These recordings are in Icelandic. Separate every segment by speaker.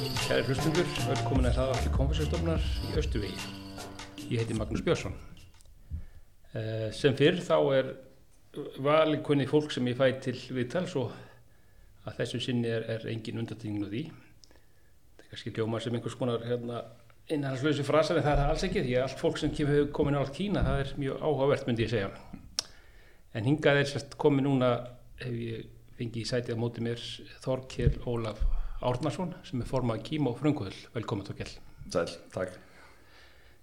Speaker 1: hlustundur, velkomin að það aftur konfessjastofnar í Östuvegi. Ég heiti Magnús Björnsson. Eh, Sem fyrr þá er valin kunni fólk sem ég fæ til viðtals og að þessu sinni er, er engin undartingin úr því. Það er kannski ljóma sem einhvers konar hérna, innhalslösi frasar en það er það alls ekki því að allt fólk sem kemur hefur komin á allt Kína það er mjög áhugavert myndi ég segja. En hingað er sérst komið núna hef ég fengið í sætið á móti mér Þorkel Ólaf Árnason sem er formað Kíma og Frunguðl. Velkomin Þorkel.
Speaker 2: Sæl, takk.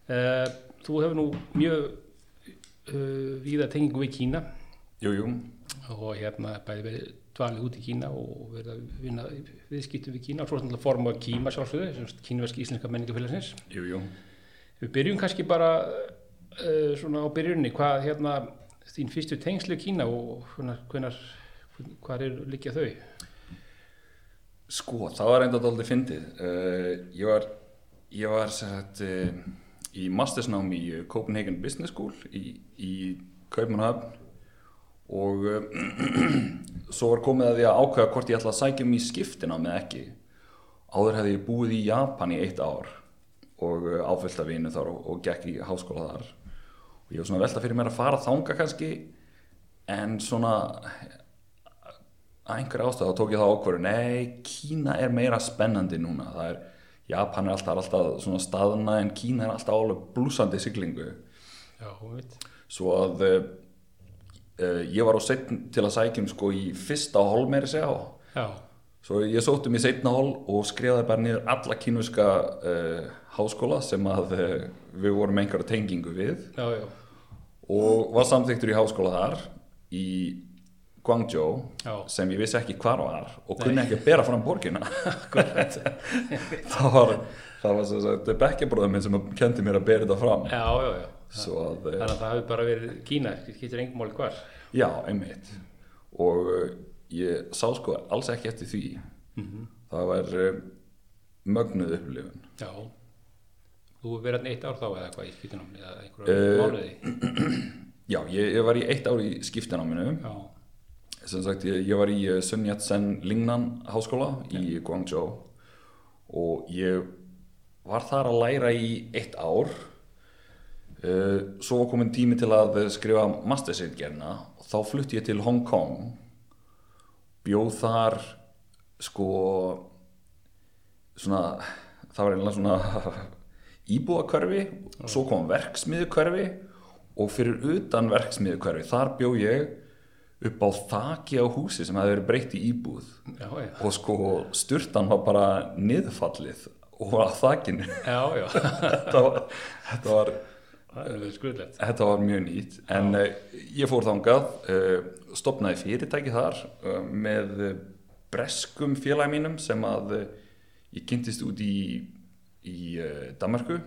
Speaker 1: Uh, þú hefur nú mjög uh, víða tengingu við Kína
Speaker 2: Jú, jú,
Speaker 1: og hérna bæði verið dvalið út í Kína og verið að vinna í viðskiptum við Kína og svo svona formað Kíma sjálfsögðu, sem sagt kínverski íslenska menningafélagsins.
Speaker 2: jú, jú.
Speaker 1: Við byrjum kannski bara uh, svona á byrjunni, hvað hérna þín fyrstu tengslu Kína og hvenar, hvenar, hvar er líkja þau?
Speaker 2: Sko, það var enda dálítið fyndið. Uh, ég var, ég var sagt, uh, í mastersnám í uh, Copenhagen Business School í, í Kaupmannhafn og uh, svo var komið að því að ákveða hvort ég ætla að sækja mig í skiptina með ekki. Áður hefði ég búið í Japan í eitt ár og uh, áfyllt af vinu þar og, og gekk í háskóla þar. Og ég var svona að velta fyrir mér að fara þanga kannski en svona að einhver ástæð þá tók ég það ákvörðu nei, Kína er meira spennandi núna það er, Japan er alltaf, er alltaf svona staðna en Kína er alltaf alveg blúsandi siglingu
Speaker 1: Já, hún veit.
Speaker 2: svo að uh, ég var á setn til að sækjum sko í fyrsta hól meiri segja á
Speaker 1: Já,
Speaker 2: svo ég sótti mig í setna hól og skrifaði bara niður alla kínuska uh, háskóla sem að uh, við vorum einhverja tengingu við
Speaker 1: já, já,
Speaker 2: og var samþyktur í háskóla þar í Guangzhou
Speaker 1: Já.
Speaker 2: sem ég vissi ekki hvar var og kunni ekki að bera fram borgina það var það var sem sagt bekkjabróðum minn sem kendi mér að bera þetta fram
Speaker 1: já, já, já.
Speaker 2: svo að, eh,
Speaker 1: Þannig að það hafi bara verið Kína, getur engum máli hvar.
Speaker 2: já, einmitt og eh, ég sá sko alls ekki eftir því það var eh, mögnuð upplifun
Speaker 1: Já. Þú hefur verið hann eitt ár þá eða hvað í skýtunum eða einhverju
Speaker 2: Eh,
Speaker 1: mánuði.
Speaker 2: já, ég, ég var í eitt ár í skiptináminu
Speaker 1: Já,
Speaker 2: sem sagt, ég, ég var í eh, Sun Yat-sen Lingnan háskóla í Guangzhou og ég var þar að læra í eitt ár uh, svo var komin tími til að skrifa mastersitgerna og þá flutti ég til Hong Kong bjóð þar sko svona það var einlega svona íbúakörfi svo kom verksmiðukörfi og fyrir utan verksmiðukörfi þar bjó ég upp á þaki á húsi sem hefði verið breytt í íbúð
Speaker 1: já, já.
Speaker 2: og sko styrtan var bara niðurfallið og var að þakinu
Speaker 1: Já, já.
Speaker 2: þetta, var, þetta, var,
Speaker 1: Það er verið skröðlegt.
Speaker 2: þetta var mjög nýtt en uh, ég fór þangað uh, stopnaði fyrirtæki þar uh, með eh, breskum félag mínum sem að uh, ég kynntist út í, í uh, Danmarku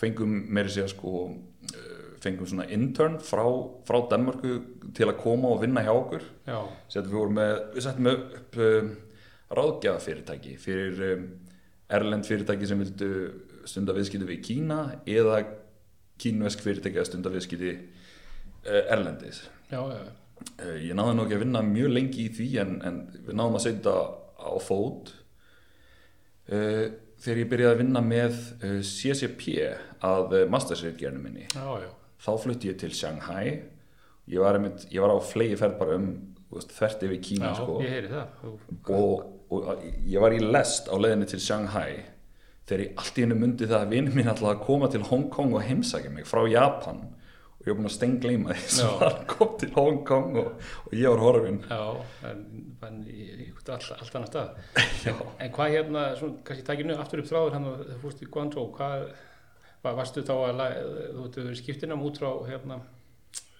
Speaker 2: fengum meiri segja sko eh, fengum svona intern frá, frá Danmarku til að koma og vinna hjá okkur
Speaker 1: Já,
Speaker 2: Settum við, vorum með, við settum upp um, ráðgjafa fyrirtæki fyrir um, erlend fyrirtæki sem vildu stunda viðskipti við Kína eða kínuesk fyrirtæki að stunda viðskipti uh, erlendis.
Speaker 1: já, já.
Speaker 2: Uh, ég náði nú ekki að vinna mjög lengi í því en, en við náðum að setja á fót. Uh, þegar ég byrjaði að vinna með uh, CCP að uh, mastersreitgerinu minni
Speaker 1: Já, já.
Speaker 2: þá flutti ég til Shanghai ég var, einmitt, ég var á flegi ferð bara um þú veist, þvert yfir
Speaker 1: Já,
Speaker 2: Kína sko.
Speaker 1: ég heyri það. Þú-
Speaker 2: og, og ég var í lest á leiðinni til Shanghai þegar ég allt í hennu myndi það að vinur mín ætlaði að koma til Hong Kong og heimsækja mig frá Japan og ég var búin að stengleima því sem
Speaker 1: Já.
Speaker 2: hann kom til Hong Kong og, og ég var horfin
Speaker 1: Já, en, en í í all, allt annar stað. En, en hvað hérna, svona, kannski takinu aftur upp þráður hann að þú fórst í Guangzhou, hvað var, varstu þá að, la- þú veitur, skiptinam út frá hérna,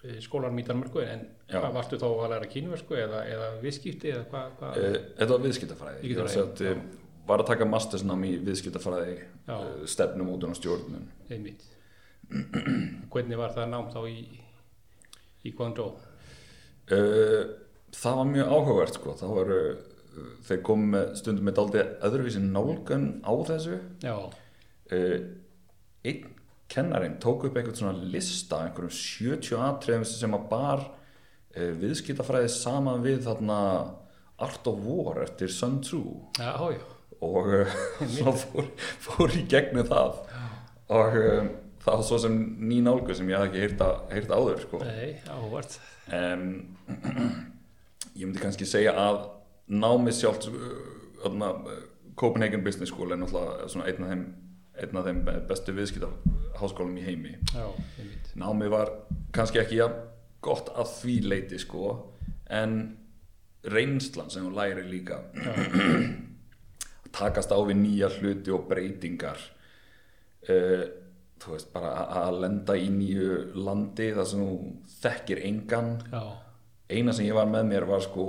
Speaker 1: eh, skólanum í Danmarku, en
Speaker 2: Já.
Speaker 1: hvað varstu þá að læra kínversku eða, eða viðskipti eða hvað, hvað,
Speaker 2: Eh, Þetta var viðskiptafræði Ég var,
Speaker 1: Viðskiptafræði,
Speaker 2: sagt, eh, var að taka mastersnám í viðskiptafræði
Speaker 1: Já.
Speaker 2: eh, stefnumótun og stjórnun
Speaker 1: einmitt. Hvernig var það nám þá í, í Guangzhou?
Speaker 2: Uh, það var mjög áhugavert sko. það var, uh, þeir komum með- stundum með daldið öðruvísi nálgun á þessu
Speaker 1: Já,
Speaker 2: uh, einn kennarinn tók upp einhvern svona lista einhverjum 70 atriðum sem að bar uh, viðskiptafræði saman við þarna Art of War eftir Sun Tzu
Speaker 1: já, já,
Speaker 2: og uh, svo fór, fór í gegnum það og um, það var svo sem ný nálgu sem ég hafði ekki heyrta, heyrta áður sko.
Speaker 1: Nei, áhugvart.
Speaker 2: um, ég myndi kannski segja að námið sjálft uh, öðna, Copenhagen Business School er náttúrulega svona einn af þeim, einn af þeim bestu viðskiptaháskólum í heimi
Speaker 1: Já, einmitt.
Speaker 2: námið var kannski ekki ja, gott að því leiti sko en reynslan sem hún læri líka takast á við nýja hluti og breytingar uh, þú veist bara að- að lenda í nýju landi þar sem hún þekkir engan
Speaker 1: Já,
Speaker 2: eina sem ég var með mér var sko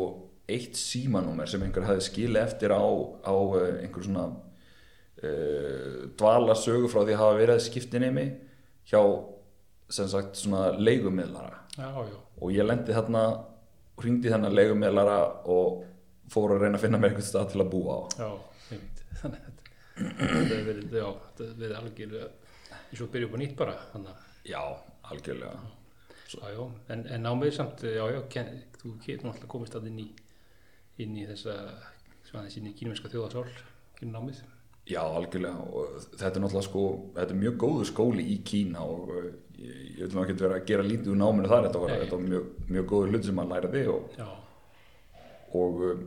Speaker 2: eitt símanúmer sem einhver hafði skilið eftir á, á eh, einhver svona uh, dvala sögu frá því að hafa verið skiptinemi hjá sem sagt svona leigumiðlara
Speaker 1: já, já.
Speaker 2: og ég lendi þarna hringdi þennan leigumiðlara og fór að reyna að finna mér einhvern stað til að búa á
Speaker 1: Já, einmitt. Þannig að þetta- þetta hefur verið, já, þetta hefur verið algjörlega eins og byrja upp á nýtt bara. Þannig að,
Speaker 2: já, algjörlega
Speaker 1: já, já, en, en námið samt, já, já, ken, þú getur náttúrulega komist að inn í, inn í þessa, svona þessi inn í kínumennska þjóðasál, kynum námið.
Speaker 2: já, algjörlega og þetta er náttúrulega sko þetta er mjög góður skóli í Kína og eh, ég, ég vil nú ekki vera að gera lítið úr náminu þar, þetta var,
Speaker 1: Nei.
Speaker 2: þetta var mjög, mjög góður hlut sem maður læriði og
Speaker 1: Já,
Speaker 2: og um,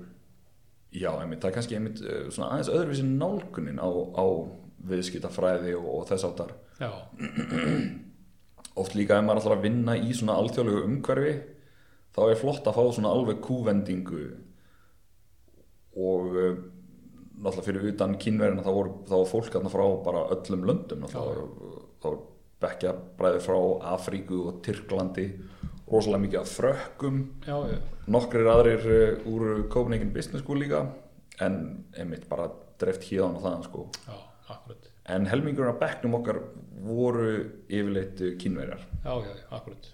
Speaker 2: já, einmitt, það er kannski einmitt uh, svona aðeins öðruvísi nálgunin á, á viðskiptafræði og, og þess áttar
Speaker 1: já,
Speaker 2: oft líka ef maður ætlar að vinna í svona alþjóðlegu umhverfi þá er flott að fá svona alveg kúvendingu og uh, náttúrulega fyrir utan kínverðina þá voru þá var fólk þarna frá bara öllum löndum náttúrulega. þá voru bekkja bræði frá Afríku og Tyrklandi rosalega mikið af frökkum
Speaker 1: já, já,
Speaker 2: nokkrir aðrir uh, úr Copenhagen Business School líka en einmitt bara dreift híðan og þaðan sko
Speaker 1: já, akkurat.
Speaker 2: en helmingurinn af bekknum okkar voru yfirleitt uh, kínverjar
Speaker 1: Já, já, já, akkurat.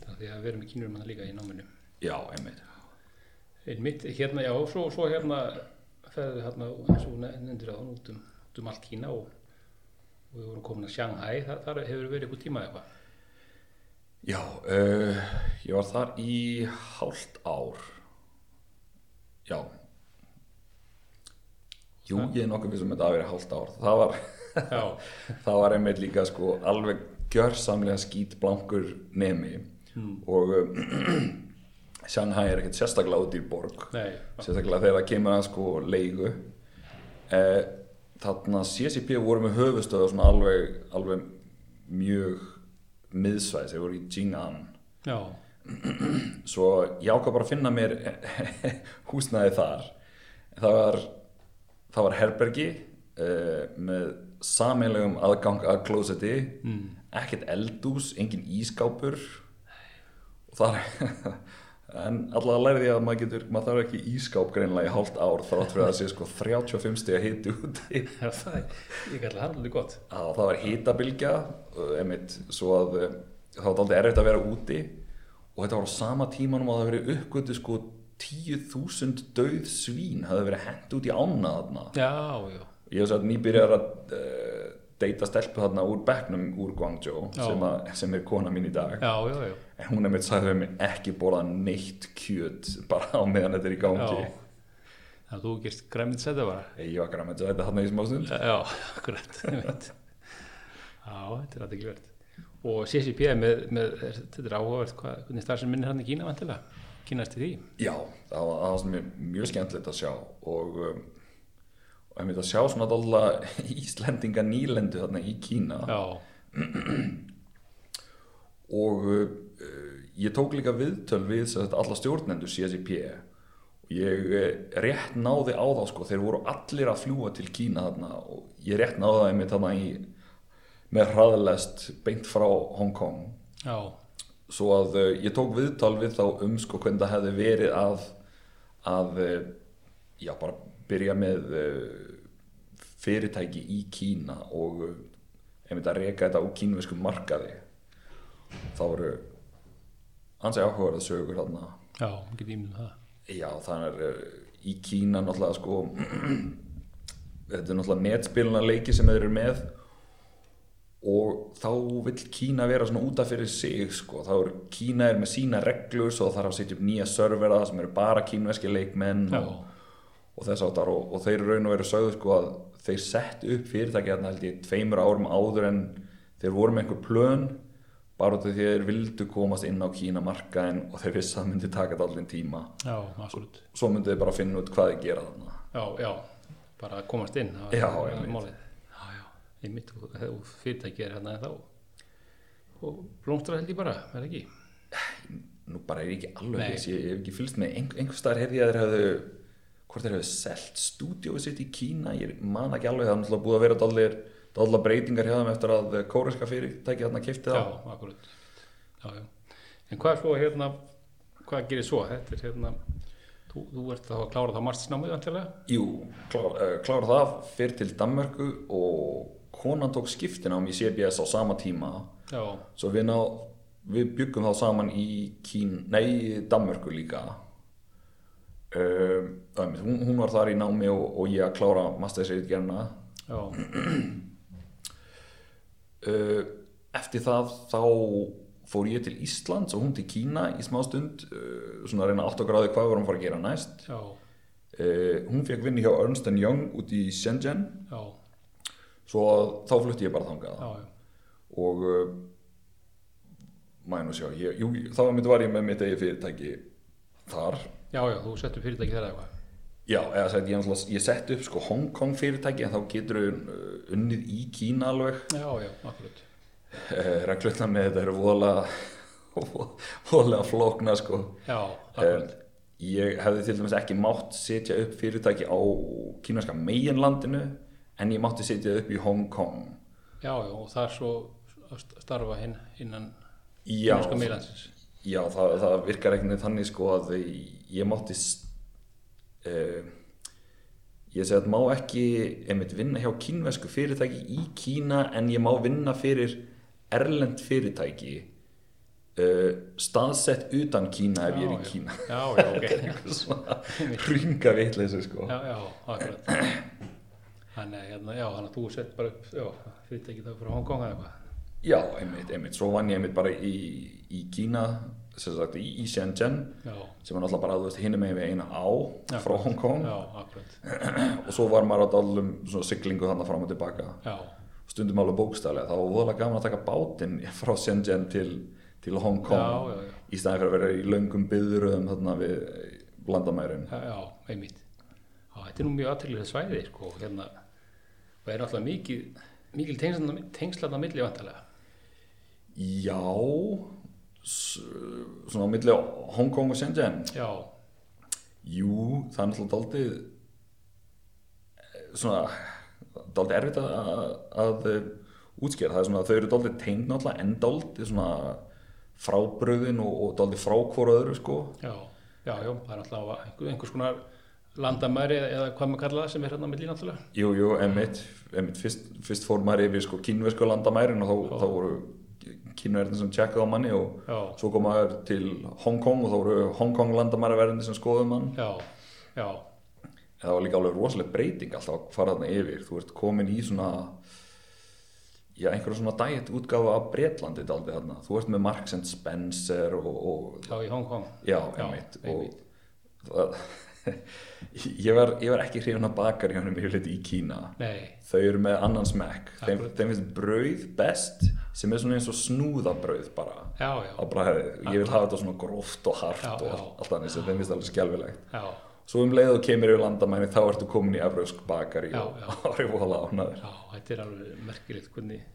Speaker 1: Það er því að við erum í kínum hann líka í náminu.
Speaker 2: já, einmitt
Speaker 1: Einmitt, hérna, já, svo, svo hérna ferði hérna, eins og hún nefndir að hún út um, út um allt Kína og, og við vorum komin að Shanghai, Þa, þar hefur verið eitthvað tíma eitthvað.
Speaker 2: já, uh, ég var þar í hálft ár já jú, ég er nokkuð vissum að þetta hafi verið hálft ár það var,
Speaker 1: Já,
Speaker 2: það var einmitt líka sko alveg gjörsamlega skítblankur nemi og uh, Shanghai er ekkert sérstaklega út í borg
Speaker 1: nei,
Speaker 2: sérstaklega þegar það kemur að sko leigu eh, þarna CCP voru með höfustöðu svona alveg, alveg mjög miðsvæðis, þeir voru í Jing'an
Speaker 1: já,
Speaker 2: svo ég ákvað bara að finna mér húsnæði þar það var, það var herbergi eh, með sameilegum aðgang að klósetti mm. ekkert eldús, engin ískápur og þar en allavega lærði ég að maður getur maður þarf ekki ískáp greinlega í hálft ár þrátt fyrir að það sé sko 35 stiga hiti úti
Speaker 1: já, það er, ég kallar það alveg gott.
Speaker 2: að það var hitabilgja emitt, svo að eh, það var aldrei erfitt að vera úti og þetta var á sama tímanum að það verið uppgötu sko 10.000 döð svín hafði verið hent út í ána þarna
Speaker 1: Já, já,
Speaker 2: ég hef sagt nýbyrjar að uh, deyta stelpu þarna úr bekknum úr Guangzhou
Speaker 1: Já.
Speaker 2: sem, að, sem er kona mín í dag
Speaker 1: já, já, já,
Speaker 2: en hún emitt sagði við mig ekki borða neitt kjöt bara á meðan þetta er í gangi
Speaker 1: já. Það þú gerst græmint setja bara.
Speaker 2: ég var græmið að þetta þarna í smá stund
Speaker 1: Já, akkurat, ég veit. Já, þetta er aðeinkvæmt. Og CCP er með, með, þetta er áhugavert, hvað, hvernig starfsinn minnir hann í Kína vantilega? Kínast í því?
Speaker 2: Já, það var, það var svona mjög- mjög skemmtilegt að sjá og, um, og einmitt að sjá svona alltaf Íslendinga nýlendu þarna í Kína
Speaker 1: Já,
Speaker 2: og uh, ég tók líka viðtöl við sem sagt, alla stjórnendur CSIP og ég eh, rétt náði á þá sko, þeir voru allir að fljúa til Kína þarna og ég rétt náði það einmitt þarna í, með hraðlest beint frá Hong Kong
Speaker 1: já,
Speaker 2: svo að uh, ég tók viðtal við þá um sko hvernig það hefði verið að að uh, já bara byrja með uh, fyrirtæki í Kína og uh, einmitt að reka þetta á kínversku markaði þá voru ansi áhugaverða sögur þarna
Speaker 1: já, ég get ímyndum það.
Speaker 2: já þannig er uh, í Kína náttúrulega sko þetta er náttúrulega netspiluna leiki sem þeir eru með og þá vill Kína vera svona útaf fyrir sig sko, þá er Kína er með sína reglur svo þarf að setja upp nýja servera sem eru bara kínverski leikmenn
Speaker 1: Já,
Speaker 2: og, og þess áttar og, og þeir raun og veru sögðu sko að þeir sett upp fyrirtæki hérna held ég tveimur árum áður en þeir voru með einhver plön bara út af því að þeir vildu komast inn á Kína markaðin og þeir vissi að það myndi taka þetta allir tíma
Speaker 1: já, absolutt
Speaker 2: svo myndu þeir bara finna út hvað þeir gera þarna
Speaker 1: já, já, bara að komast inn það var-
Speaker 2: Já,
Speaker 1: það var
Speaker 2: einmitt.
Speaker 1: málið. já, já, einmitt og, og fyrirtæki er hérna þá og blómstra held ég bara, er það ekki
Speaker 2: nú bara er ég ekki alveg
Speaker 1: Nei.
Speaker 2: viss, ég ég hef ekki fylgst með Ein, einhver staðar heyrði ég að þeir hefðu hvort þeir hefðu selt stúdíóið sitt í Kína ég man ekki alveg, það er náttúrulega búið að vera dollir, dollar breytingar hjá þeim eftir að kóreska fyrirtæki þarna kifti það
Speaker 1: Já, akkurat. Já, já. En hvað er svo hérna, hvað gerir svo? Þetta er hérna, þú, þú ert þá að klára það marstisnámið vantilega?
Speaker 2: Jú, klár, uh, klára það fyrir til Danmörku og konan tók skiptin á mig í CBS á sama tíma
Speaker 1: Já,
Speaker 2: svo við, ná, við byggum þá saman í Kín, nei, í Danmörku líka um, einmitt, hún, hún var þar í námi og, og ég að klára hérna. mastersreitgerna
Speaker 1: já,
Speaker 2: uh, eftir það þá fór ég til Íslands og hún til Kína í smá stund uh, svona að reyna átt og gráði hvað var hún fara að gera næst
Speaker 1: já,
Speaker 2: uh, hún fekk vinni hjá Ernst Young út í Shenzhen
Speaker 1: já,
Speaker 2: svo þá flutti ég bara þangað
Speaker 1: já,
Speaker 2: og uh, maður nú sjá, ég, jú, þá mitt var ég með mitt eigi fyrirtæki þar
Speaker 1: já, já, þú settur fyrirtæki þeirra eitthvað.
Speaker 2: já, eða sett, ég, náttúrulega- ég sett upp sko Hong Kong fyrirtæki en þá getur uh, unnið í Kína alveg
Speaker 1: Já, já, akkurat.
Speaker 2: uh, reglutna með þetta eru voðalega voðalega flókna sko
Speaker 1: Já,
Speaker 2: uh,
Speaker 1: akkurat.
Speaker 2: ég hefði til dæmis ekki mátt setja upp fyrirtæki á kínaska meginlandinu en ég mátti setja upp í Hong Kong
Speaker 1: Já, já, og það er svo að st- starfa hinn, innan
Speaker 2: já,
Speaker 1: norska meilansins.
Speaker 2: Já, það, það virkar einhvern veginn þannig sko að ég mátti uh, ég segi að má ekki einmitt vinna hjá kínvesku fyrirtæki í Kína en ég má vinna fyrir erlend fyrirtæki uh, staðsett utan Kína ef ég er í Kína
Speaker 1: Já, já, ok.
Speaker 2: eitthvað svona ringa vitleysu sko
Speaker 1: já, já, akkurat. Þannig, að, hérna, já, þannig að þú sett bara upp, já, fyrirtæki það frá Hong Kong eða eitthvað.
Speaker 2: Já, einmitt, einmitt, svo vann ég einmitt bara í, í Kína sem sagt í, í Shenzhen
Speaker 1: Já,
Speaker 2: sem er náttúrulega bara að þú veist hinum megin við eina á
Speaker 1: Já,
Speaker 2: frá Hong Kong
Speaker 1: já, akkurat.
Speaker 2: og svo var maður á dálum svona siglingu þannig fram og tilbaka
Speaker 1: Já,
Speaker 2: stundum alveg bókstælega, það var voðalega gaman að taka bátinn frá Shenzhen til, til Hong Kong
Speaker 1: Já, já, já.
Speaker 2: í staðin fyrir að vera í löngum byðuröðum þarna við landamærin
Speaker 1: Já, já, einmitt. Já, þetta er nú mjög aðtryggilega svæði, sko, hérna, og er náttúrulega mikil, mikil tengslaðna milli vantarlega.
Speaker 2: Já s- svona á milli Hong Kong og Shenzhen
Speaker 1: Já,
Speaker 2: Jú, það er náttúrulega daldið svona daldið erfitt að, að, að eh, útskýra, það er svona þau eru daldið tengd náttúrulega en daldið svona frábröðin og, og daldið frákvor öðru sko
Speaker 1: já, já, já, það er náttúrulega einhver, einhvers konar landamæri eða, eða hvað maður kalla það sem er hérna á milli náttúrulega.
Speaker 2: Jú, jú, emitt, emitt fyrst, fyrst fór maður yfir sko kínversku landamærin og þá, þá voru kínverðin sem tjekkaði á manni og
Speaker 1: Já,
Speaker 2: svo kom maður til Hong Kong og þá voru Hong Kong landamæraverðin sem skoðum mann
Speaker 1: já, já,
Speaker 2: En það var líka alveg rosaleg breyting alltaf að fara þarna yfir þú ert komin í svona já, einhverja svona dætt útgáfa af Bretlandi daldið þarna, þú ert með Marks and Spencer og, og
Speaker 1: já, í Hong Kong.
Speaker 2: já,
Speaker 1: Já,
Speaker 2: einmitt
Speaker 1: einmitt.
Speaker 2: og það, ég, var, ég var ekki hrifin að bakar hjá hennum yfirleitt í Kína
Speaker 1: Nei,
Speaker 2: þau eru með annan smekk þeim,
Speaker 1: Akkurat.
Speaker 2: þeim finnst brauð best sem er svona eins og snúðabrauð bara
Speaker 1: já, já,
Speaker 2: að bara, ég vil hafa þetta svona gróft og hart
Speaker 1: Já,
Speaker 2: og
Speaker 1: já.
Speaker 2: allt þannig sem þeim finnst alveg skelfilegt
Speaker 1: já,
Speaker 2: Svo um leið og kemur yfir landamæni þá ertu komin í Evrausk bakari
Speaker 1: Já,
Speaker 2: og
Speaker 1: já.
Speaker 2: árið vola ánaður.
Speaker 1: já, þetta er alveg merkilegt hvernig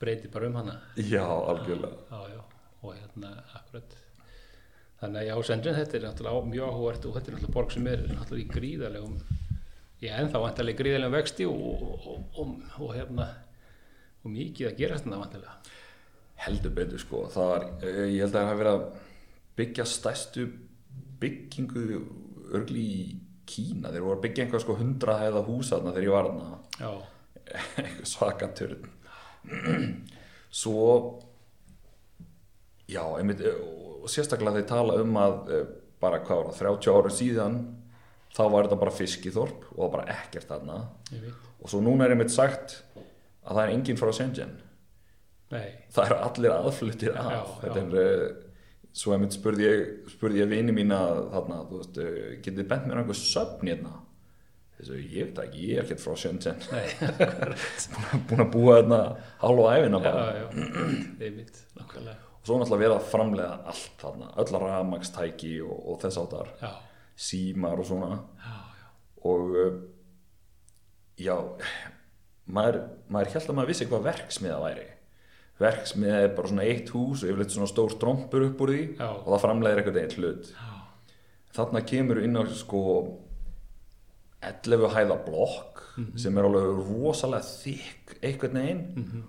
Speaker 1: breytir bara um hana.
Speaker 2: Já, algjörlega.
Speaker 1: já, já, og hérna, akkurat þannig að já, Sendrin, þetta er náttúrulega á- mjög áhugavert og þetta er náttúrulega borg sem er náttúrulega í gríðarlegum já, ennþá vantarlega gríðarlegum vexti og, og, og, og, og hérna og mikið að gerast þetta vantarlega
Speaker 2: Heldur betur sko. Það er, eh, ég held að það hafi verið að byggja stærstu byggingu örgli í Kína. Þeir voru að byggja einhver sko hundra hæða hús þarna þegar ég var þarna.
Speaker 1: já,
Speaker 2: Einhver svakaturn. Svo, já, einmitt, eh, og sérstaklega þeir tala um að eh, bara hvað var það, 30 ára síðan, þá var þetta bara fiskiþorp og það var bara ekkert þarna.
Speaker 1: ég veit,
Speaker 2: og svo núna er einmitt sagt að það er enginn frá Shenzhen
Speaker 1: nei,
Speaker 2: það eru allir aðfluttir af
Speaker 1: Já,
Speaker 2: þetta er uh, svo eh, einmitt spurði ég, spurði ég vini mína þarna, þú veist, uh, getið bent mér einhver söfn hérna þessu, ég veit það ekki, ég er ekkert frá Shenzhen búin að- búin að búa þarna hálfa æfina
Speaker 1: já,
Speaker 2: bara
Speaker 1: já, einmitt, nákvæmlega.
Speaker 2: og svo náttúrulega verið að framlega allt þarna, öll rafmagstæki og, og þess áttar,
Speaker 1: Já,
Speaker 2: símar og svona
Speaker 1: já,
Speaker 2: og uh, já maður, maður held að maður vissi hvað verksmiða væri verksmiða er bara svona eitt hús og yfirleitt svona stór trompur upp úr því
Speaker 1: Já.
Speaker 2: og það framlegir einhvern veginn hlut
Speaker 1: já,
Speaker 2: þarna kemur inn á sko 11 hæða blokk sem er alveg rosalega þykk einhvern veginn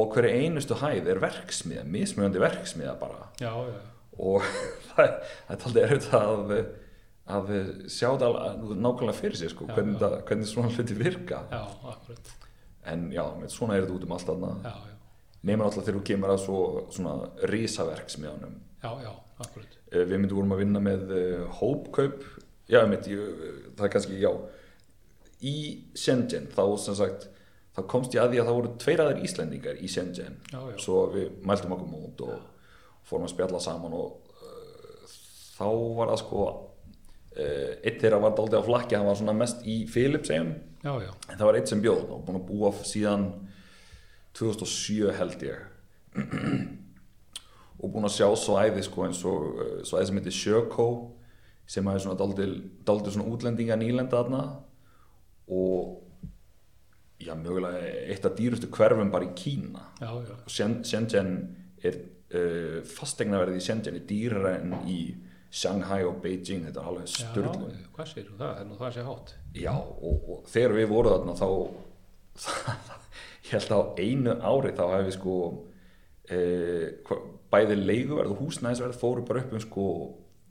Speaker 2: og hverju einustu hæð er verksmiða mismunandi verksmiða bara
Speaker 1: já, já,
Speaker 2: og það er- það er aldrei erfitt að, að sjá það alveg nákvæmlega fyrir sér sko,
Speaker 1: Já,
Speaker 2: hvernig, það, hvernig svona hluti virka
Speaker 1: já, akkurat,
Speaker 2: en já, með svona er þetta út um allt annað
Speaker 1: já, já,
Speaker 2: nema náttúrulega þegar þú kemur að svo, svona risaverksmiðanum
Speaker 1: já, já, akkurat,
Speaker 2: Eh, við myndum vorum að vinna með eh, hópkaup já, mitt, ég, eh, það er kannski, já í Shenzhen, þá sem sagt þá komst ég að því að það voru tveir aðeir Íslendingar í Shenzhen,
Speaker 1: já, já,
Speaker 2: svo við mæltum okkur mót og fórum að spjalla saman og uh, þá var það sko uh, eitt þeirra var daldið á flakki, hann var svona mest í Philipsheim,
Speaker 1: já, já,
Speaker 2: en það var eitt sem bjóð og búin að búa síðan 2007 held ég og búin að sjá svæði sko eins og uh, svæði sem heitir Sjökó sem hafi svona daldið, daldið svona útlendinga nýlenda þarna og já, mögulega eitt af dýrustu hverfum bara í Kína
Speaker 1: já, já,
Speaker 2: Shen- Shenzhen er uh, fastegnaverðið í Shenzhen er dýrara en í Shanghai og Beijing þetta er alveg styrlun
Speaker 1: Já, hvað segir þú það? Það er nú það sé hátt.
Speaker 2: já og, og þegar við vorum þarna þá ég held að á einu ári þá hefði sko eh, hva- bæði leiguverð og húsnæðisverð fóru bara upp um sko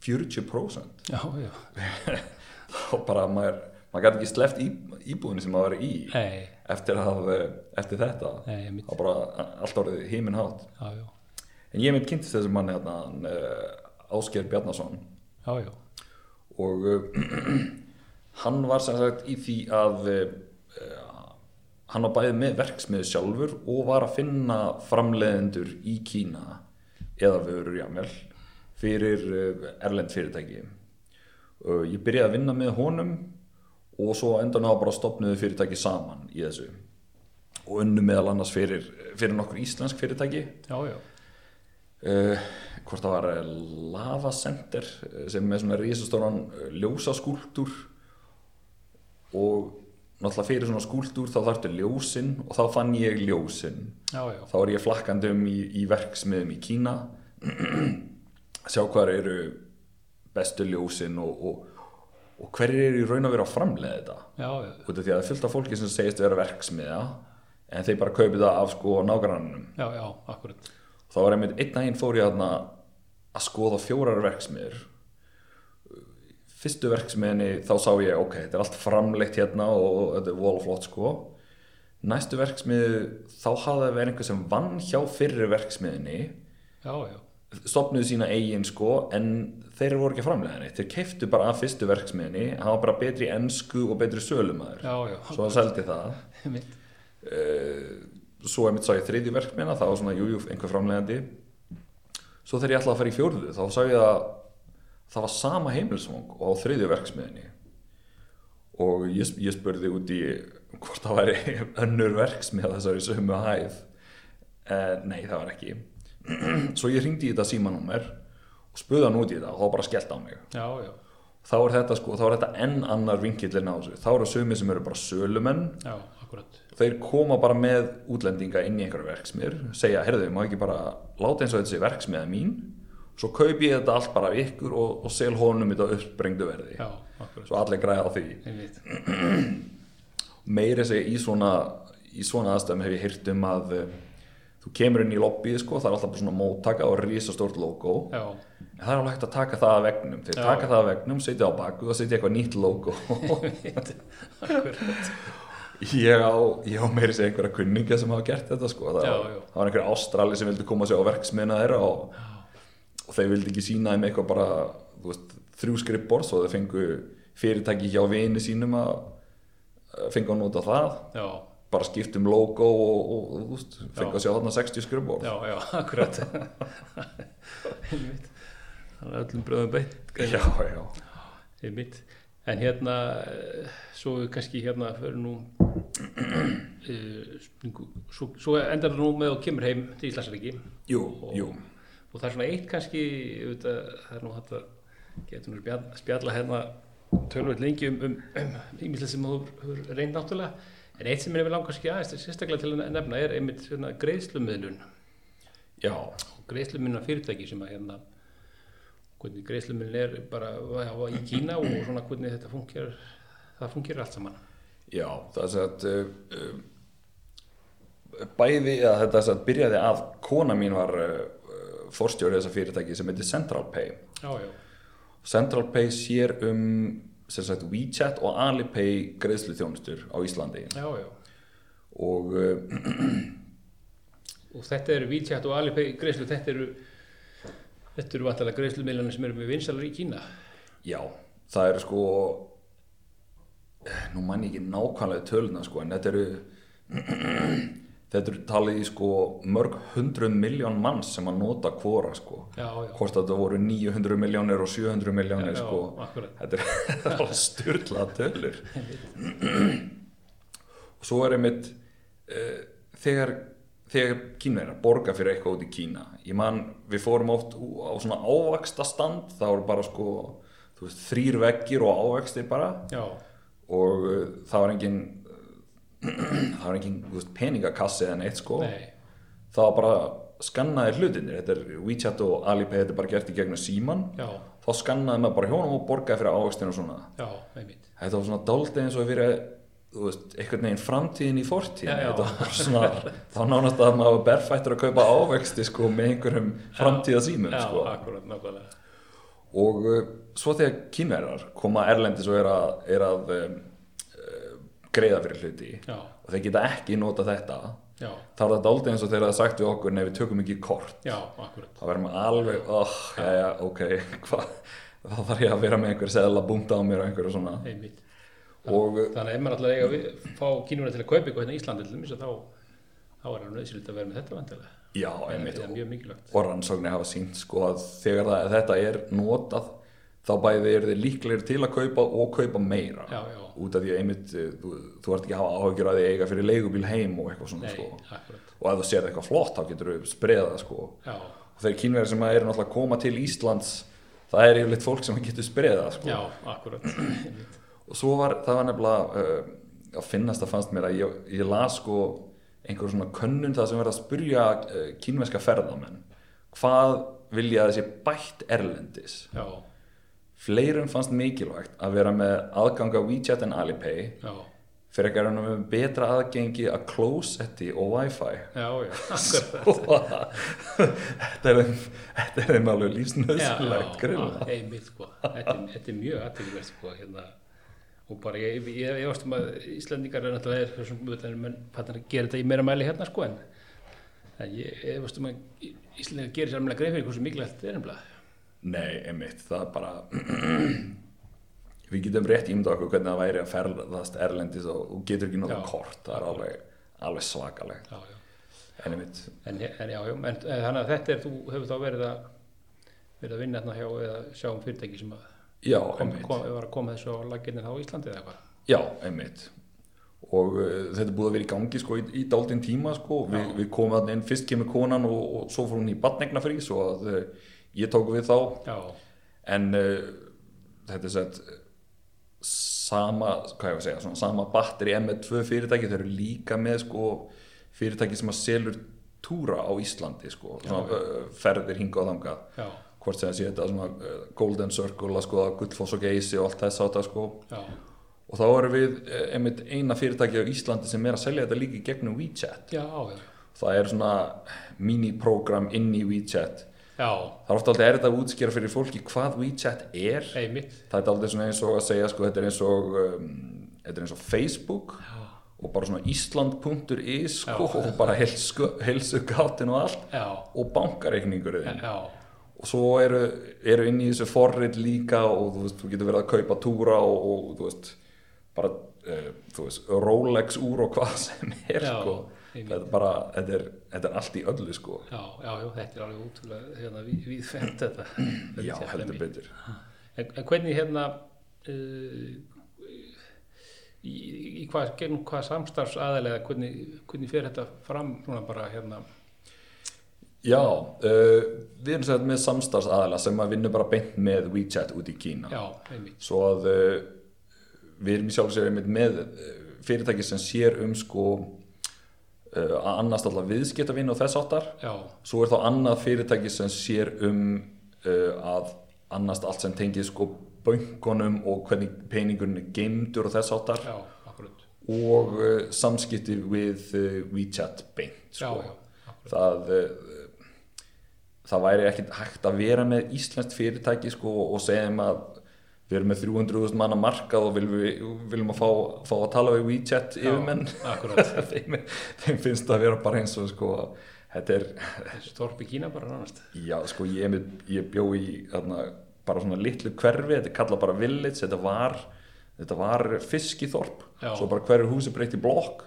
Speaker 2: 40%
Speaker 1: Já, já.
Speaker 2: þá bara maður maður gæti ekki sleft í, íbúðinu sem maður var í
Speaker 1: Nei,
Speaker 2: eftir, að, eftir þetta
Speaker 1: nei, ég mitt.
Speaker 2: þá bara allt orðið himinhátt
Speaker 1: Já, já,
Speaker 2: En ég mynd kynntist þessum manni hérna, hann, uh, Ásker Bjarnason
Speaker 1: já, já,
Speaker 2: og uh, hann var sem sagt í því að uh, hann var bæðið með verksmiðu sjálfur og var að finna framleiðendur í Kína eða vörur jámel fyrir uh, erlend fyrirtæki. Uh, ég byrjaði að vinna með honum og svo endan á bara stopnuðu fyrirtæki saman í þessu og unnu meðal annars fyrir, fyrir nokkur íslensk fyrirtæki
Speaker 1: já, já,
Speaker 2: uh, hvort það var eh, Lava Center eh, sem er svona risastóran eh, ljósaskúltúr og náttúrulega fyrir svona skúltúr þá þarftu ljósin og þá fann ég ljósin
Speaker 1: já, já,
Speaker 2: þá er ég flakkandi um í, í verksmiðum í Kína sjá hvar eru bestu ljósin og, og, og hverjir eru í raun að vera að framlega þetta
Speaker 1: já, já,
Speaker 2: út af því að það er fullt af fólki sem segist vera verksmiða en þeir bara kaupi það af sko nágrannum
Speaker 1: já, já, akkurat.
Speaker 2: þá var einmitt einn daginn fór ég þarna að skoða fjórar verksmiður fyrstu verksmiðinni þá sá ég ok, þetta er allt framleitt hérna og þetta er vola flott sko næstu verksmiðu þá hafði það verið einhver sem vann hjá fyrri verksmiðinni
Speaker 1: Já, já,
Speaker 2: stopnuðu sína eigin sko en þeir voru ekki að framlega henni þeir keiftu bara að fyrstu verksmiðinni hann var bara betri í ensku og betri sölumæður
Speaker 1: já, já,
Speaker 2: svo hann seldi það
Speaker 1: ég mitt.
Speaker 2: Eh, svo einmitt sá ég þriðju verkmina það var svona jújú jú, einhver framlegandi svo þegar ég ætlaði að fara í fjórðu þá sá ég að það var sama heimilsvang og á þriðju verksmiðinni og ég, ég spurði út í hvort það væri önnur verksmiða þessari sömu hæð eh, nei það var ekki svo ég ringdi í þetta símanúmer og spurði hann út í þetta og þá bara skellt á mig
Speaker 1: Já, já,
Speaker 2: þá er þetta sko, þá er þetta enn annar vinkillin á þessu, þá eru sömi sem eru bara sölumenn
Speaker 1: já, akkurat.
Speaker 2: þeir koma bara með útlendinga inn í einhverju verksmiður, segja, heyrðu, má ekki bara láta eins og þetta sé verksmiða mín svo kaupi ég þetta allt bara af ykkur og, og sel honum þetta á uppbrengdu verði
Speaker 1: Já, akkurat.
Speaker 2: svo allir græða á því
Speaker 1: Ég mitt.
Speaker 2: meira segja í svona í svona aðstæðum hef ég heyrt um að eh, þú kemur inn í lobbyið sko, það er alltaf bara svona móttaka og risastórt logo
Speaker 1: Já,
Speaker 2: en það er alveg hægt að taka það af veggnum þeir
Speaker 1: Já.
Speaker 2: taka það af veggnum, setja á baku og setja eitthvað nýtt logo
Speaker 1: akkurat.
Speaker 2: ég á, ég á meiri segja einhverja kunninga sem hafa gert þetta sko það,
Speaker 1: Já,
Speaker 2: var-
Speaker 1: já.
Speaker 2: það var einhverja ástrali sem vildi koma að sjá verksmiðna þeirra og, og þeir vildi ekki sína þeim eitthvað bara þú veist, þrjú skrippbor svo þeir fengu fyrirtæki hjá vini sínum að að fengu að nota það
Speaker 1: Já,
Speaker 2: bara skipt um logo og, og, og þú veist, fengu
Speaker 1: Já.
Speaker 2: að sjá þarna 60 skrippbor
Speaker 1: já, já, akkurat. Ég mitt. Það er öllum bröðum beitt.
Speaker 2: já, já,
Speaker 1: Ég mitt. en hérna eh, svo við kannski hérna fyrir nú eh, springu- svo, svo endar það nú með að þú kemur heim til Íslandsriki
Speaker 2: Jú, jú.
Speaker 1: og það er svona eitt kannski auðvitað, það er nú hægt að getur nú spjalla, spjalla hérna tölvöld lengi um, um, um ímislega sem þú hefur reynd náttúrulega en eitt sem er yfir langar skjá aðeins sérstaklega til að nefna er einmitt svona greiðslumöðlun
Speaker 2: Já,
Speaker 1: og greiðslumöðlun fyrirtæki sem að hérna hvernig greiðslumöðlun er bara já, í Kína og svona hvernig þetta funkar það funkar allt saman
Speaker 2: já, það er satt uh, uh, bæði, eða þetta satt byrjaði að kona mín var uh, uh, forstjóri þessa fyrirtæki sem heitir CentralPay.
Speaker 1: já, já,
Speaker 2: CentralPay sér um sem sagt WeChat og Alipay greiðslu þjónustur á Íslandi
Speaker 1: já, já
Speaker 2: og uh,
Speaker 1: og þetta eru WeChat og Alipay greiðslu þetta eru þetta eru vantarlega greiðslumöðlunum sem eru með vinsalar í Kína
Speaker 2: Já, það eru sko eh, nú mann ég ekki nákvæmlega töluna sko en þetta eru þetta eru talið í sko mörg hundruð miljón manns sem að nota hvora sko
Speaker 1: já, já
Speaker 2: hvort að þetta voru 900 miljónir og 700 miljónir
Speaker 1: Já,
Speaker 2: sko
Speaker 1: akkurat.
Speaker 2: þetta er- þetta er alveg styrla tölur og svo er einmitt uh, þegar, þegar kínverðina borga fyrir eitthvað út í Kína ég man, við fórum oft ú- á svona ávaksta stand þá voru bara sko þú veist, þrýr veggir og ávakstir bara
Speaker 1: Já,
Speaker 2: og uh, það var engin það var engin þú veist, peningakassi eða neitt sko
Speaker 1: nei,
Speaker 2: það var bara skannaðir hlutinir þetta er WeChat og Alipay, þetta er bara gert í gegnum síman
Speaker 1: já,
Speaker 2: þá skannaði maður bara hjónum og borgaði fyrir ávextinu og svona
Speaker 1: já, einmitt
Speaker 2: þetta var svona dálítið eins og að vera þú veist, einhvern veginn framtíðin í fortíðin
Speaker 1: Já, já.
Speaker 2: þetta var svona, þá nánast að maður var berfættur að kaupa ávexti sko með einhverjum framtíðasímum
Speaker 1: Já,
Speaker 2: sko
Speaker 1: akkurat, nákvæmlega
Speaker 2: og uh, svo þegar kínverðar koma erlendis og er að, er að um, uh, greiða fyrir hluti
Speaker 1: Já,
Speaker 2: og þeir geta ekki nota þetta
Speaker 1: já,
Speaker 2: þá er það dálítið eins og þeir hafa sagt við okkur nei við tökum ekki kort
Speaker 1: já, akkurat
Speaker 2: þá verður maður alveg, oh, já, já, ok, hvað, þá þarf ég að vera með einhver seðla búnda á mér og einhverju svona.
Speaker 1: einmitt
Speaker 2: Og
Speaker 1: Þannig að ef maður alltaf eiga að við- fá kínuna til að kaupa eitthvað hérna í Íslandi til þess að þá þá er hann nöðsynlít að vera með þetta vantilega
Speaker 2: já, sko. einmitt,
Speaker 1: Það er
Speaker 2: og,
Speaker 1: mjög mikilvægt
Speaker 2: og rannsóknir hafa sínt sko að þegar það, þetta er notað, þá bæði eru þið líklegir til að kaupa og kaupa meira.
Speaker 1: Já, já,
Speaker 2: Út af því að einmitt, eh, þú, þú ert ekki að hafa áhyggjur að því eiga fyrir leigubíl heim og eitthvað svona,
Speaker 1: nei,
Speaker 2: sko.
Speaker 1: akkurat
Speaker 2: Og ef þú sér eitthvað flott, þá getur þú spreðað, sko.
Speaker 1: Já,
Speaker 2: Og þeir kínverðir sem eru náttúrulega að koma til Íslands, það er yfirleitt fólk sem getur spreðað, sko.
Speaker 1: já, akkurat einmitt.
Speaker 2: og svo var, það var nefnilega uh, að finnast að fannst mér að ég, ég las sko einhver svona könnun það sem verið að spurja uh, kínverska ferðamenn hvað vilja að þessi bætt erlendis
Speaker 1: Já,
Speaker 2: fleirum fannst mikilvægt að vera með aðganga WeChat en Alipay
Speaker 1: já,
Speaker 2: fyrir ekki að vera með betra aðgengi að Closetti og Wi-Fi
Speaker 1: já, já, akkurat
Speaker 2: Svo að- þetta er þeim- þetta er þeim alveg lífsnöðsilegt
Speaker 1: já,
Speaker 2: grunna
Speaker 1: einmitt sko þetta, er- þetta er mjög aðtækilvægt sko hérna. og bara ég, ég, ég varst um að Íslandingar er náttúrulega er, þessum, er, menn, fattar, gera þetta í meira mæli hérna sko en, en ég, ég varst um að Í- Íslendingar gerir sér alveg greið fyrir hversu mikilvægt þetta er nefnilega
Speaker 2: Nei, einmitt, það er bara við getum rétt ímynda okkur hvernig það væri að ferðast erlendis og, og getur ekki
Speaker 1: Já.
Speaker 2: náttúrulega kort það er alveg, alveg svakalegt
Speaker 1: já, já.
Speaker 2: en einmitt,
Speaker 1: En, en já, já, en, en þannig að þetta er þú hefur þá verið að verið að vinna hérna hjá eða sjá um fyrirtæki sem að
Speaker 2: já,
Speaker 1: kom,
Speaker 2: einmitt
Speaker 1: kom, var að koma þessu á laginni þá á Íslandi eða eitthvað
Speaker 2: já, einmitt og uh, þetta er búið að vera í gangi sko í, í dálítinn tíma sko, Vi,
Speaker 1: Já.
Speaker 2: við komum þarna inn, fyrst kemur konan og, og svo fór hún í batnegnafrí svo að uh, ég tók við þá
Speaker 1: já,
Speaker 2: en uh, þetta er sett sama, hvað ég var að segja, svona sama batteri M2 fyrirtæki, þeir eru líka með sko fyrirtæki sem að selur túra á Íslandi sko, svona uh, ferðir hinga og þangað
Speaker 1: já,
Speaker 2: hvort sem það sé þetta svona uh, Golden Circle að skoða Gullfoss og Geysi og allt þess átta sko
Speaker 1: já,
Speaker 2: og þá erum við uh, einmitt eina fyrirtæki á Íslandi sem er að selja þetta líka í gegnum WeChat
Speaker 1: já, já,
Speaker 2: það er svona mini-program inn í WeChat
Speaker 1: já,
Speaker 2: það er ofta alltaf erfitt að útskýra fyrir fólki hvað WeChat er
Speaker 1: einmitt,
Speaker 2: það er aldrei svona eins og að segja sko, þetta er eins og um, þetta er eins og Facebook
Speaker 1: já,
Speaker 2: og bara svona Ísland.is sko,
Speaker 1: Já.
Speaker 2: og bara helsu, helsu gátin og allt
Speaker 1: já.
Speaker 2: og bankareikningur þinn
Speaker 1: Já,
Speaker 2: og svo eru, eru inn í þessu forrið líka og þú veist, þú getur verið að kaupa túra og, og þú veist bara, uh, þú veist, Rolex úr og hvað sem er
Speaker 1: Já,
Speaker 2: sko
Speaker 1: einmitt.
Speaker 2: þetta er bara, þetta er, þetta er allt í öllu sko
Speaker 1: já, já, já, þetta er alveg útrúlega hérna, víðfæmt þetta.
Speaker 2: já, heldur betur
Speaker 1: En, en hvernig hérna, uh, í, í hvað, gegnum hvað samstarfs aðalega, hvernig, hvernig fer þetta fram núna bara hérna
Speaker 2: Já, uh, við erum sem sagt með samstarfsaðala sem að vinna bara beint með WeChat út í Kína.
Speaker 1: já, einmitt,
Speaker 2: Svo að uh, við erum í sjálf sér einmitt með uh, fyrirtæki sem sér um sko uh, að annast alltaf viðskiptavinn og þess áttar.
Speaker 1: já,
Speaker 2: Svo er þá annað fyrirtæki sem sér um uh, að annast allt sem tengið sko bönkunum og hvernig peningurinn er geimdur og þess áttar
Speaker 1: já, akkurat
Speaker 2: og uh, samskipti við uh, WeChat beint
Speaker 1: já,
Speaker 2: sko.
Speaker 1: já,
Speaker 2: það uh, það væri ekkert hægt að vera með íslenskt fyrirtæki sko og segja þeim að við erum með 300.000 manna markað og viljum, við, viljum að fá, fá að tala við WeChat
Speaker 1: já,
Speaker 2: yfirmenn
Speaker 1: akkurat,
Speaker 2: þeim, þeim finnst það að vera bara eins og sko þetta er,
Speaker 1: þessu þorpi Kína bara nánast
Speaker 2: Já, sko, ég, er með- ég bjó í þarna, bara svona litlu hverfi, þetta er kallað bara village, þetta var, þetta var fiskiþorp,
Speaker 1: Já.
Speaker 2: svo bara hverju húsi breytt í blokk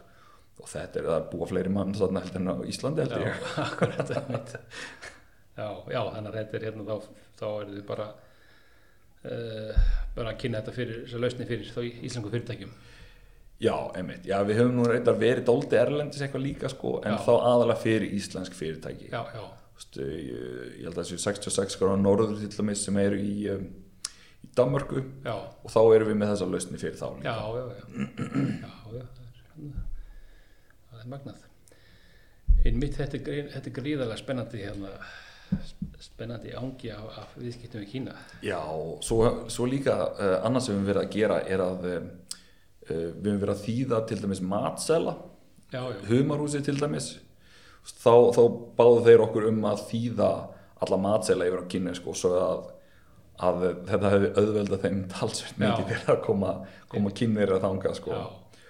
Speaker 2: og þetta er það búa fleiri mann þarna heldur en á Íslandi heldur
Speaker 1: já,
Speaker 2: ég.
Speaker 1: akkurat einmitt. já, já, þannig að þetta er hérna þá, þá er þið bara uh, bara að kynna þetta fyrir þessa lausni fyrir þá í íslengu fyrirtækjum
Speaker 2: Já, einmitt, já, við höfum nú reyndar verið dóldi erlendis eitthvað líka sko, en
Speaker 1: Já.
Speaker 2: þá aðalega fyrir íslensk fyrirtæki.
Speaker 1: já, já,
Speaker 2: Vistu, ég, ég held að þessu 66 gráða norður til dæmis sem eru í, um, í Danmörku
Speaker 1: já,
Speaker 2: og þá erum við með þessa lausni fyrir þá. líka.
Speaker 1: já, já, já, já, já það er, hérna- það er magnað einmitt þetta er, gríð- þetta er gríðalega spennandi hérna sp- spennandi ángi af, af viðskiptum í Kína
Speaker 2: Já, svo, svo líka uh, annars sem við höfum verið að gera er að uh, við höfum verið að þýða til dæmis matsela,
Speaker 1: já, já,
Speaker 2: humarhúsi til dæmis þá, þá báðu þeir okkur um að þýða alla matsela yfir á kynnesku og svo að, að þetta hefði auðveldað þeim talsveit
Speaker 1: Já.
Speaker 2: mikið fyrir að koma, koma kynneir að þanga sko.
Speaker 1: já,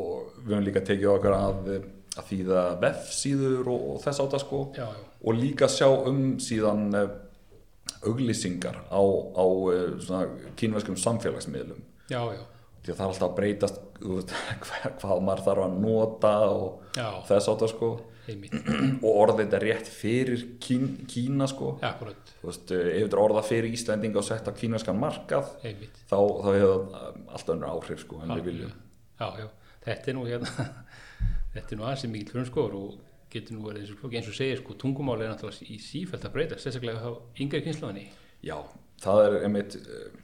Speaker 2: og við höfum líka tekið okkur að, að þýða vefsíður og, og þess átta sko
Speaker 1: já, já.
Speaker 2: og líka sjá um síðan uh, auglýsingar á, á uh, svona kínverskum samfélagsmiðlum
Speaker 1: Já, já,
Speaker 2: því að það er alltaf að breytast þú veist, hvað, hvað maður þarf að nota og
Speaker 1: já,
Speaker 2: þess átta sko
Speaker 1: einmitt,
Speaker 2: og orðið þetta rétt fyrir kín, Kína sko
Speaker 1: já, akkurat,
Speaker 2: þú veist, uh, ef þetta er orða fyrir Íslendinga og sett á kínverskan markað
Speaker 1: einmitt, Mm.
Speaker 2: þá, þá hefur það um, allt önnur áhrif sko en við viljum
Speaker 1: já, já, þetta er nú hérna, þetta er nú aðeins mikið frumskóður og getur nú verið eins og flóki, eins og segir sko, tungumáli er náttúrulega í sífælt að breyta, sérstaklega á yngri kynnslóðinni,
Speaker 2: Já, það er einmitt uh,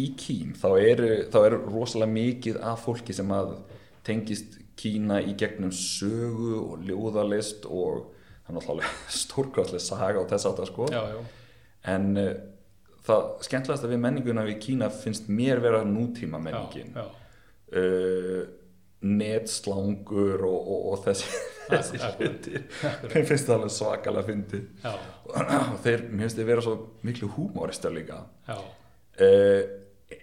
Speaker 2: í Kín þá er, þá er rosalega mikið af fólki sem að tengist Kína í gegnum sögu og ljóðalist og það er náttúrulega stórkvæðslega saga og þess að það sko
Speaker 1: já, já,
Speaker 2: en uh, það skemmtilegasta við menninguna við Kína finnst mér vera nútíma menningin
Speaker 1: já,
Speaker 2: uh, netslangur og, og, og þessi, þessi
Speaker 1: akkurat,
Speaker 2: hlutir mér finnst það alveg svakalega fyndið
Speaker 1: já,
Speaker 2: og þeir, mér finnst þeir vera svo miklu húmóristar líka
Speaker 1: já,
Speaker 2: uh,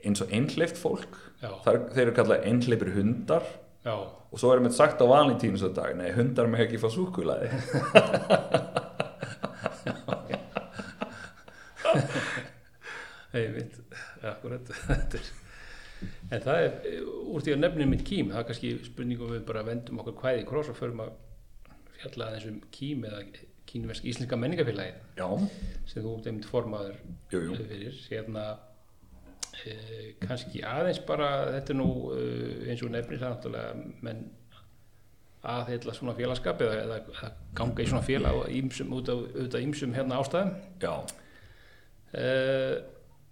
Speaker 2: eins og einhleift fólk
Speaker 1: Já.
Speaker 2: Þar, þeir eru kallað einhleipir hundar
Speaker 1: já,
Speaker 2: og svo erum við sagt á valentínus dag nei, hundar með ekki fá súkulaði
Speaker 1: einmitt, akkurat, þetta er, en það er, eh, úr því að nefnir mitt kým, það er kannski spurningum við bara vendum okkur kvæði í kross og förum að fjalla aðeins um kým eða kínversk íslenska menningafélagið.
Speaker 2: já,
Speaker 1: sem þú út einmitt formaður
Speaker 2: Jú, jú.
Speaker 1: fyrir hérna e, kannski aðeins bara þetta er nú e, eins og nefnir það náttúrulega menn aðheila svona félagskap eða, eða, eða ganga í svona félag og ýmsum, út af- út af ímsum hérna ástæðum
Speaker 2: já,
Speaker 1: e,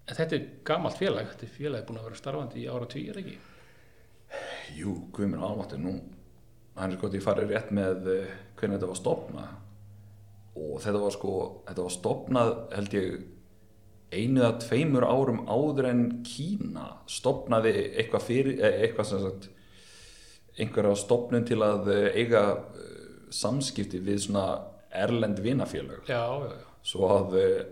Speaker 1: en þetta er gamalt félag þetta er félag búin að vera starfandi í ára tvíir ekki
Speaker 2: jú, guðminn alváttu nú hann er sko að ég farið rétt með uh, hvernig þetta var stopnað og þetta var sko þetta var stopnað held ég einu að tveimur árum áður en Kína stopnaði eitthvað fyrir, eh, eitthvað sem sagt einhverja stopnun til að eh, eiga eh, samskipti við svona erlend vinafélög
Speaker 1: já, já, já,
Speaker 2: svo að eh,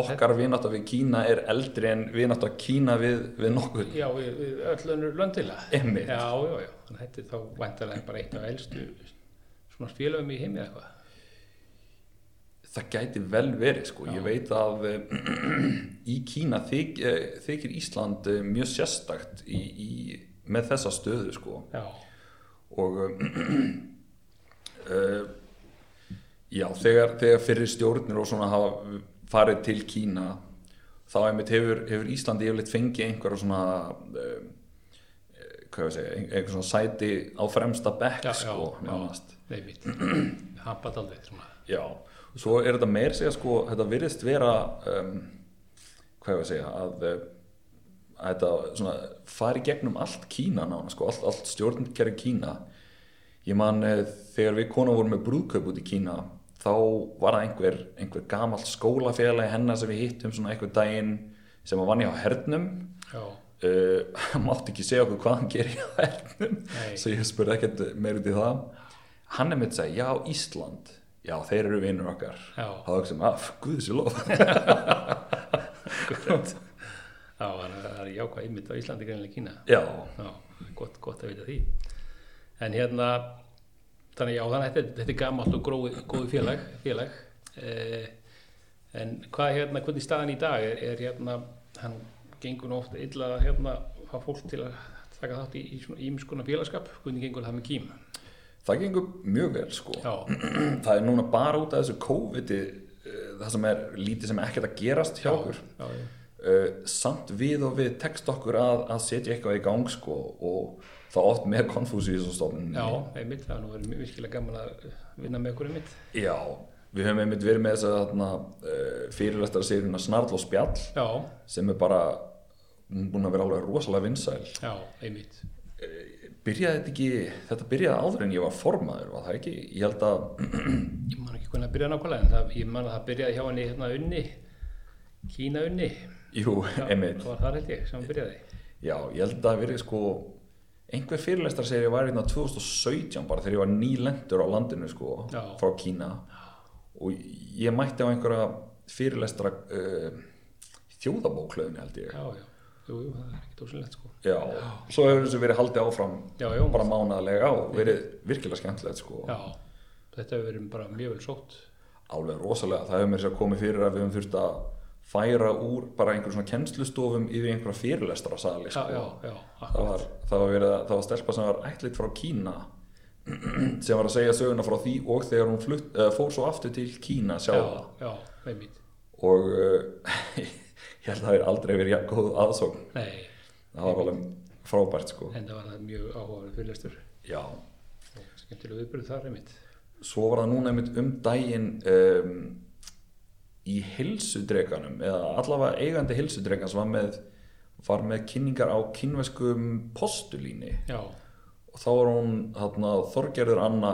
Speaker 2: okkar vinátta við Kína er eldri en vinátta Kína við, við nokkur
Speaker 1: já við, við öll önnur löndila já,
Speaker 2: emmi.
Speaker 1: já, já, Þannig að þetta er þá væntalega bara eitt af elstu svona félagum í heimi eða eitthvað
Speaker 2: Það gæti vel verið sko, ég veit að eh, í Kína þyk, eh, þykir Ísland eh, mjög sérstakt í, í, með þessa stöðu sko
Speaker 1: já,
Speaker 2: og eh, uh, já, þegar, þegar fyrir stjórnir og svona hafa farið til Kína þá einmitt hefur, hefur Íslandi yfirleitt fengið einhverja svona um, eh, hvað ég að segja, ein- einhver svona sæti á fremsta
Speaker 1: Já,
Speaker 2: bekk sko,
Speaker 1: já, já.
Speaker 2: nánast.
Speaker 1: einmitt hampa daldið svona
Speaker 2: Já, svo er þetta meir segja sko, þetta virðist vera um, hvað ég að segja að, eh, að þetta svona fari gegnum allt Kína nána sko, allt, allt stjórnkerfi Kína ég man eh, þegar við konar vorum með brúðkaup út í Kína þá var það einhver, einhver gamall skólafélagi hennar sem við hittum svona einhver daginn sem að vann í á hernum
Speaker 1: já,
Speaker 2: uh, hann mátti ekki segja okkur hvað hann gerir á hernum
Speaker 1: Nei.
Speaker 2: svo ég spurði ekkert meir út í það hann er mitt að segja, já Ísland já þeir eru vinnur okkar
Speaker 1: já,
Speaker 2: þá ekki sem af, guðs í "Ah, lof
Speaker 1: já þannig að það er jákvæð einmitt á Íslandi greinlega Kína
Speaker 2: já,
Speaker 1: já, gott, gott að vita því en hérna þannig já, þannig að þetta, þetta er gamalt og gróið, góði félag, félag. Eh, en hvað hérna hvernig staðan í dag er, er hérna hann gengur nú oft illa að hérna fá fólk til að taka þátt í, í svona ímskona félagskap hvernig gengur það með kým
Speaker 2: það gengur mjög vel sko
Speaker 1: já,
Speaker 2: það er núna bara út af þessu COVID það sem er lítið sem ekkert að gerast hjá okkur
Speaker 1: já, já,
Speaker 2: uh, samt við og við tekst okkur að, að setja eitthvað í gang sko og það oft með konfúsi í þessu stofnun
Speaker 1: já, einmitt það er nú verið virkilega gaman að vinna með okkur einmitt
Speaker 2: já, við höfum einmitt verið með þess að uh, fyrirlestar séruna Snarl og Spjall
Speaker 1: já,
Speaker 2: sem er bara hún er búin að vera alveg rosalega vinsæl
Speaker 1: já, einmitt
Speaker 2: byrjaði þetta ekki, þetta byrjaði áður en ég var formaður, var það ekki? Ég held að,
Speaker 1: ég man ekki hvernig að byrja nákvæmlega en það, ég man að það byrjaði hjá henni hérna unni Kína unni
Speaker 2: jú, einmitt,
Speaker 1: það var þar held ég sem hann byrjaði
Speaker 2: já, ég held að það verið sko, einhver fyrirlestar segir ég var hérna 2017 bara þegar ég var nýlendur á landinu sko,
Speaker 1: Já.
Speaker 2: frá Kína og ég mætti á einhverja fyrirlestra uh, þjóðabóklöðinu held ég.
Speaker 1: já, já, jú, jú, það er ekki tósilegt sko
Speaker 2: Já, svo hefur þessu verið haldið áfram
Speaker 1: já, já,
Speaker 2: bara mánaðlega og verið virkilega skemmtilegt sko.
Speaker 1: já, þetta hefur verið bara mjög vel sótt
Speaker 2: alveg rosalega, það hefur mér sér komið fyrir að við höfum þurft að færa úr bara einhverjum svona kennslustofum yfir einhverja fyrirlestra sali
Speaker 1: já, já, já,
Speaker 2: það var, það var, verið, að- það var stelpa sem var ætlit frá Kína sem var að segja söguna frá því og þegar hún flutt, uh, fór svo aftur til Kína sjá
Speaker 1: já,
Speaker 2: það
Speaker 1: já, einmitt
Speaker 2: og uh, ég held að það er aldrei verið jafn góð aðsókn
Speaker 1: nei,
Speaker 2: það var alveg frábært sko
Speaker 1: en það var það mjög áhugaverð fyrirlestur
Speaker 2: já,
Speaker 1: skemmtilega viðbyrð þar einmitt
Speaker 2: svo var það núna einmitt um daginn um, í helsudreganum eða allavega eigandi helsudregan sem var með, var með kynningar á kynveskum postulíni
Speaker 1: já,
Speaker 2: og þá var hún þarna, Þorgerður Anna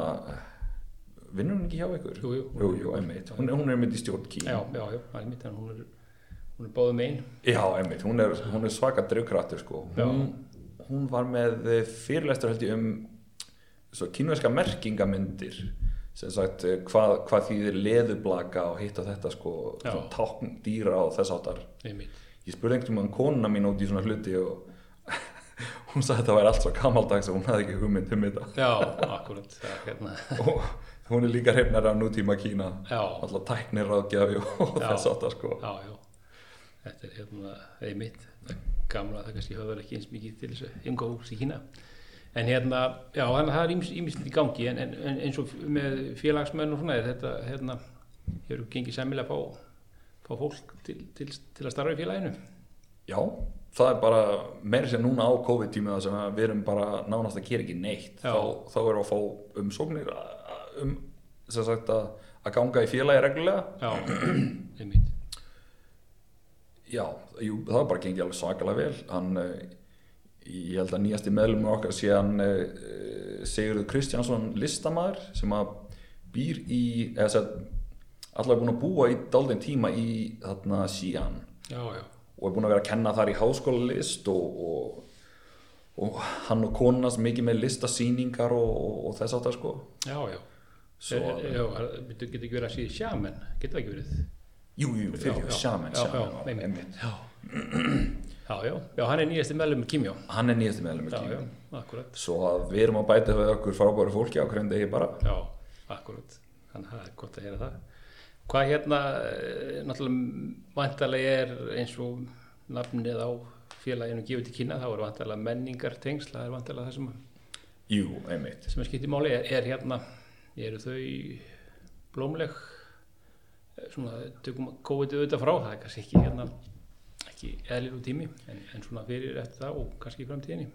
Speaker 2: vinnur hún ekki hjá ykkur?
Speaker 1: Jú, jú.
Speaker 2: jú, einmitt, hún, hún er einmitt í stjórn
Speaker 1: já,
Speaker 2: kín
Speaker 1: já, já, einmitt en hún er, hún er báðum einn
Speaker 2: já, einmitt, hún er, hún er svaka drifkrattur sko hún, hún var með fyrirlestur held ég um svo kínverska merkingamyndir sem sagt eh, hvað, hvað þýðir leðublaka og hitt og þetta sko
Speaker 1: Já.
Speaker 2: svona tákn dýra og þess áttar
Speaker 1: einmitt,
Speaker 2: ég spurði einhvern veginn konuna mín út í svona hluti og hún sagði að það væri allt svo kamaldags og hún hafði ekki hugmynd um þetta
Speaker 1: já, akkurat það, hérna,
Speaker 2: og hún er líka hrifnari af nútíma Kína
Speaker 1: já
Speaker 2: alltaf tæknir ráðgjafi og
Speaker 1: Já.
Speaker 2: þess áttar sko
Speaker 1: Já, já, þetta er hérna einmitt, það gamla, það kannski höfður ekki eins mikið til þess að ynga hús í Kína en hérna, já, þannig að það er ímislegt í gangi en, en, en eins og með félagsmenn og svona er þetta, hérna, hefur gengið sæmilega að fá, fá fólk til, til, til að starfa í félaginu
Speaker 2: já, það er bara meiri sér núna á COVID-tímið sem að við erum bara nánast að gera ekki neitt
Speaker 1: Já.
Speaker 2: þá, þá erum við að fá umsóknir a- a- um sem sagt að, að ganga í félagi reglulega
Speaker 1: Já, einmitt,
Speaker 2: já, jú, það er bara gengið alveg svakalega vel hann, eh, ég held að nýjasti meðlum okkar sé hann eh, Sigurður Kristjánsson listamaður sem að býr í eða sem allavega búin að búa í daldin tíma í þarna síðan
Speaker 1: já, já,
Speaker 2: og er búin að vera að kenna þar í háskóla list og, og, og hann og konunast mikið með listasýningar og, og, og þess áttar sko
Speaker 1: já, já
Speaker 2: Svo,
Speaker 1: Svo, já, getur ekki verið að síða sjaman, getur það ekki verið
Speaker 2: jú, jú, fyrir
Speaker 1: Já,
Speaker 2: ekki,
Speaker 1: já,
Speaker 2: sjaman,
Speaker 1: já, já,
Speaker 2: sjaman
Speaker 1: einmitt.
Speaker 2: einmitt.
Speaker 1: Já, já, já, hann er nýjasti meðlum með Kímjó
Speaker 2: hann er nýjast meðlum
Speaker 1: Já,
Speaker 2: ekki
Speaker 1: já, akkurat
Speaker 2: svo að við erum að bæta við okkur frábæru fólki á hverjum degi bara
Speaker 1: Já, akkurat, þannig að það er gott að heyra það. Hvað hérna, eh, náttúrulega vantarlega er eins og nafnið á félaginu gefið til kynna, þá er vantarlega menningar tengsla, það er vantarlega það sem,
Speaker 2: jú, einmitt
Speaker 1: sem er skipt í máli, er, er hérna, eru þau blómleg, Eh, svona, tökum COVID auðvitað frá, það er kannski ekki hérna ekki eðlilu tími en, en svona fyrir eftir það og kannski í framtíðinni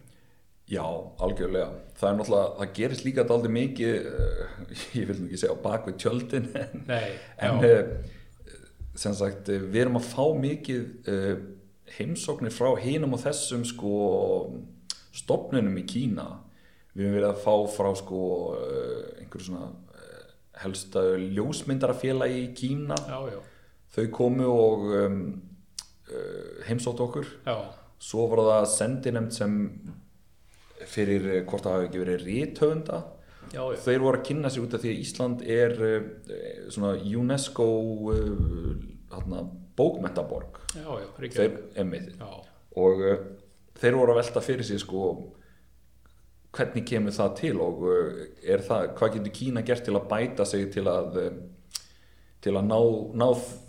Speaker 2: Já, algjörlega. Það er náttúrulega, það gerist líka daldið mikið, eh, ég vil nú ekki segja á bakvið tjöldin, en,
Speaker 1: Nei,
Speaker 2: en
Speaker 1: já,
Speaker 2: eh, sem sagt, eh, við erum að fá mikið eh, heimsóknir frá hinum og þessum sko stopnunum í Kína. Við erum verið að fá frá sko eh, einhverju svona eh, helsta ljósmyndarafélagi í Kína.
Speaker 1: já, já,
Speaker 2: Þau komu og um, eh, heimsóttu okkur
Speaker 1: já,
Speaker 2: svo var það sendinemnd sem fyrir eh, hvort það hafi ekki verið rítöfunda
Speaker 1: já, já,
Speaker 2: þeir voru að kynna sér út af því að Ísland er eh, eh, svona UNESCO eh, þarna, bókmentaborg
Speaker 1: já, já,
Speaker 2: þeir,
Speaker 1: Reykjavík.
Speaker 2: emið,
Speaker 1: já,
Speaker 2: og eh, þeir voru að velta fyrir sér sko hvernig kemur það til og eh, er það, hvað getur Kína gert til að bæta sig til að eh, til að ná, ná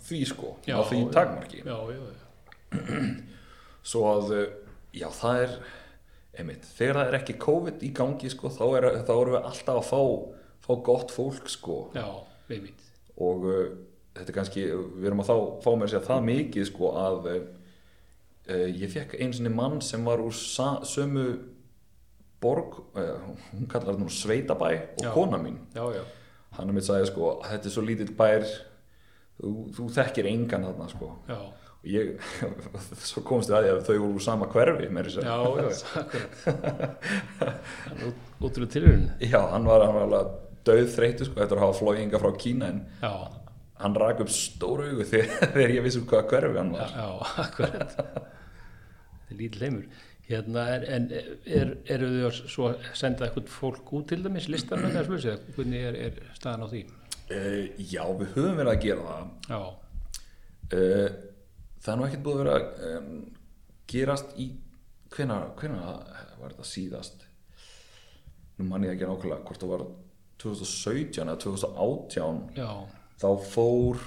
Speaker 2: því sko
Speaker 1: já,
Speaker 2: ná því
Speaker 1: já,
Speaker 2: takmarki
Speaker 1: já, já, já,
Speaker 2: svo að, uh, já það er einmitt, þegar það er ekki COVID í gangi sko, þá, er, þá erum við alltaf að fá, fá gott fólk sko
Speaker 1: já, við mitt
Speaker 2: og uh, þetta er kannski, við erum að þá, fá mér að segja það mikið sko að uh, uh, ég fekk einu sinni mann sem var úr sa, sömu borg, uh, hún kallar það nú sveitabæ og
Speaker 1: Já.
Speaker 2: kona mín
Speaker 1: já, já,
Speaker 2: hann er mitt sagði sko, þetta er svo lítill bær þú, þú þekkir engan þarna sko
Speaker 1: já,
Speaker 2: og ég, svo komst ég að því að þau voru úr sama hverfi með þess
Speaker 1: já,
Speaker 2: að
Speaker 1: já, já, akkurat Útrúð tilurinn
Speaker 2: Já, hann var, hann var alveg döð þreytu sko, eftir að hafa flóginga frá Kína en
Speaker 1: Já,
Speaker 2: hann rak upp stóru augu þegar, þegar ég vissi um hvaða hverfi hann
Speaker 1: já,
Speaker 2: var.
Speaker 1: já, akkurat Þetta er lítill heimur Hérna, er, en er, eru þau að svo senda eitthvað fólk út til dæmis listamenn eða slúsið, hvernig er, er staðan á því?
Speaker 2: Uh, já, við höfum verið að gera það.
Speaker 1: Já,
Speaker 2: Uh, það er nú ekkert búið að vera um, gerast í, hvenær, hvenær var þetta síðast? Nú man ég ekki nákvæmlega hvort það var 2017 eða 2018
Speaker 1: já,
Speaker 2: þá fór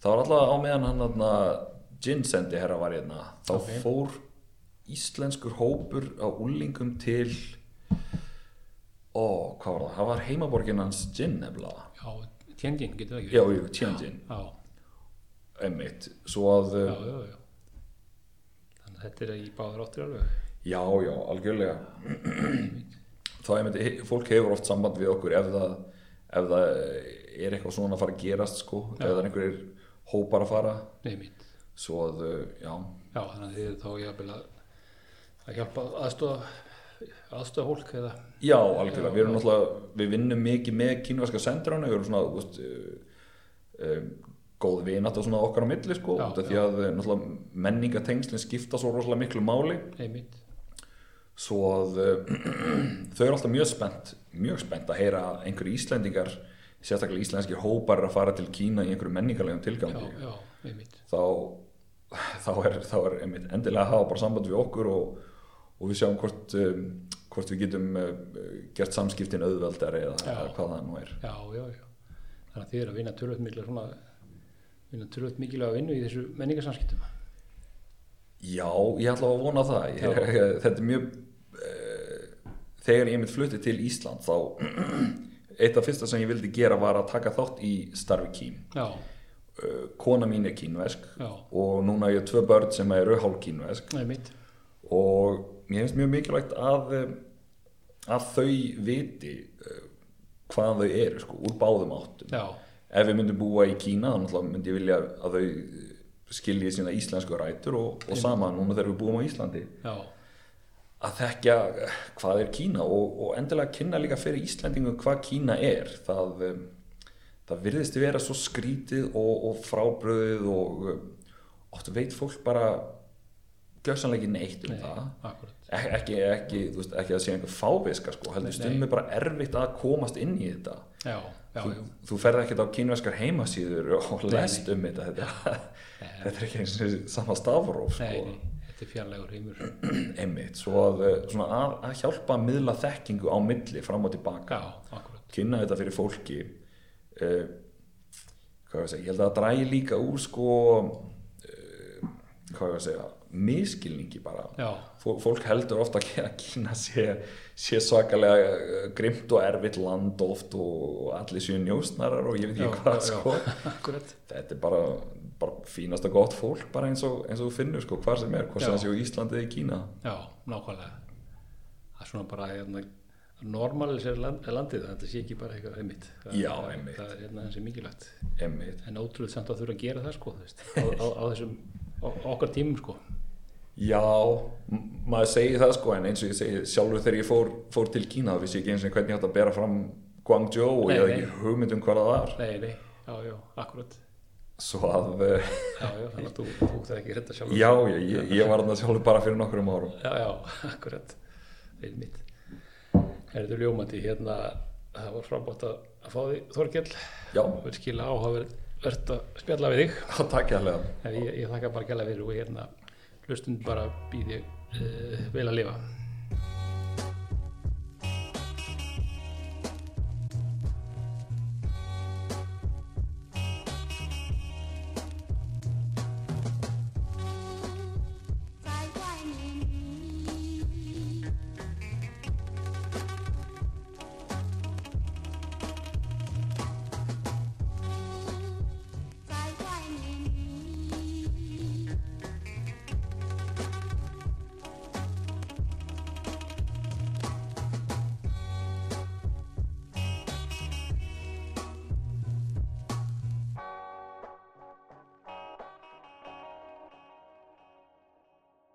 Speaker 2: þá var alltaf á meðan hann hann ginsendi herra var hérna þá
Speaker 1: Ok.
Speaker 2: fór íslenskur hópur á úlingum til ó, hvað var það það var heimaborgin hans gin nefnilega
Speaker 1: já, tjengin, getur það ekki?
Speaker 2: já, jú, Tianjin,
Speaker 1: Já,
Speaker 2: emmitt svo að, eh,
Speaker 1: já, já, já. Þannig að þetta er í báðar áttir alveg.
Speaker 2: já, já, algjörlega þá emmitt, fólk hefur oft samband við okkur ef það, ef það eh, er eitthvað svona að fara að gerast sko, ef það er einhverjir hópar að fara
Speaker 1: Nei mitt.
Speaker 2: svo að, eh, já,
Speaker 1: Já, þannig að þið eru þá jafnvel að, að hjálpa aðstofa, aðstofa fólk eða,
Speaker 2: Já, algjörlega, við erum náttúrulega, við vinnum mikið með kínverska sendiránu, við erum svona, þú veist, uh, uh, góð vinat og svona okkar á milli, sko,
Speaker 1: Já,
Speaker 2: út af því að eh, náttúrulega menningatengslinn skipta svo rosalega miklu máli,
Speaker 1: nei mitt.
Speaker 2: svo að uh, þau eru alltaf mjög spennt, mjög spennt að heyra að einhverju Íslendingar, sérstaklega íslenskir hópar eru að fara til Kína í einhverju menningarlegum
Speaker 1: Já,
Speaker 2: tilgangi,
Speaker 1: já, nei mitt.
Speaker 2: þá, þá er, þá er einmitt, endilega að hafa bara samband við okkur og, og við sjáum hvort, um, hvort við getum uh, gert samskiptin auðveldari eða,
Speaker 1: Já.
Speaker 2: eða hvað það nú er.
Speaker 1: Já, já, já. Þannig að þið eru að vinna tölvöld mikilvæg svona, vinna tölvöld mikilvæg að vinna í þessu menningarsamskiptum.
Speaker 2: Já, ég ætla að vona það. Ég, þetta er mjög, uh, þegar ég mitt flutti til Ísland þá, eitt af fyrsta sem ég vildi gera var að taka þátt í starfi kín.
Speaker 1: Já,
Speaker 2: Uh, kona mín er kínvesk
Speaker 1: Já.
Speaker 2: og núna ég er tvö börn sem eru hálf kínvesk.
Speaker 1: nei mitt.
Speaker 2: og mér finnst mjög mikilvægt að, eh, að þau viti eh, hvaðan þau eru sko, úr báðum áttum
Speaker 1: Já,
Speaker 2: ef við myndum búa í Kína þá náttúrulega myndi ég vilja að þau skilji sína íslensku rætur og, og sama núna þegar við búum á Íslandi
Speaker 1: já,
Speaker 2: að þekkja eh, hvað er Kína og, og endilega kynna líka fyrir Íslendingum hvað Kína er það, eh, það virðist vera svo skrítið og, og frábröðið og eh, oft veit fólk bara gjössanlega ekki neitt um það
Speaker 1: akkurat.
Speaker 2: Ek- ekki, ekki, þú veist, ekki að sé einhver fáviska sko, heldur
Speaker 1: Nei,
Speaker 2: stundum er bara erfitt að komast inn í þetta
Speaker 1: Já, já,
Speaker 2: þú,
Speaker 1: já.
Speaker 2: þú ferð ekkert á kínverskar heimasíður og lest um þetta þetta,
Speaker 1: Nei.
Speaker 2: þetta er ekki eins og sama stafróf
Speaker 1: Nei,
Speaker 2: sko,
Speaker 1: nei, þetta er fjarlægur heimur.
Speaker 2: einmitt svo að, eh, svona að, að hjálpa að miðla þekkingu á milli fram og tilbaka
Speaker 1: Já, akkurat.
Speaker 2: kynna þetta fyrir fólki uh, hvað ég að segja, ég held að það drægi líka úr sko uh, hvað ég að segja miskilningi bara
Speaker 1: Já,
Speaker 2: Fó- fólk heldur ofta að Kína sé, sé svakalega eh, grimt og erfitt land oft og allir séu njósnarar og ég veit
Speaker 1: já,
Speaker 2: ekki hvað
Speaker 1: já,
Speaker 2: sko.
Speaker 1: já, akkurat.
Speaker 2: þetta er bara bara fínasta gott fólk bara eins og, eins og þú finnur sko hvað sem er, hvað sem
Speaker 1: Já.
Speaker 2: það sé á Íslandi eða í Kína
Speaker 1: Já, nákvæmlega. Það er svona bara hérna, normalisir land, landið, þetta sé ekki bara eitthvað einmitt. Það,
Speaker 2: Já,
Speaker 1: það-
Speaker 2: einmitt.
Speaker 1: Það er hérna þessi mikilvægt.
Speaker 2: emmitt.
Speaker 1: En ótrúlega samt að þurfa að gera það sko, þú veist, á, á, á þessum, á, á okkar tímum sko.
Speaker 2: Já, m- maður segir það sko en eins og ég segi sjálfur þegar ég fór, fór til Kína þá vissi ég ekki eins og hvernig ég átt að bera fram Guangzhou og
Speaker 1: Nei,
Speaker 2: ég hafði
Speaker 1: nei.
Speaker 2: ekki hugmynd um hvað það var
Speaker 1: Nei, nei, já, já, akkurat.
Speaker 2: svo að, eh,
Speaker 1: Já, já, þannig að þú tók það ekki reynda sjálf.
Speaker 2: já, já, ég, ég var þarna sjálfur bara fyrir nokkrum árum
Speaker 1: Já, já, akkurat, einmitt. Herðu ljómandi, hérna, það var frábært að að fá því Þorkell.
Speaker 2: Já,
Speaker 1: Það er skila áhugavert að spjalla við þig.
Speaker 2: það takk hérlega
Speaker 1: Ég, ég þakka bara gæla fyrir og hérna hlustun bara býði uh, vel að lifa.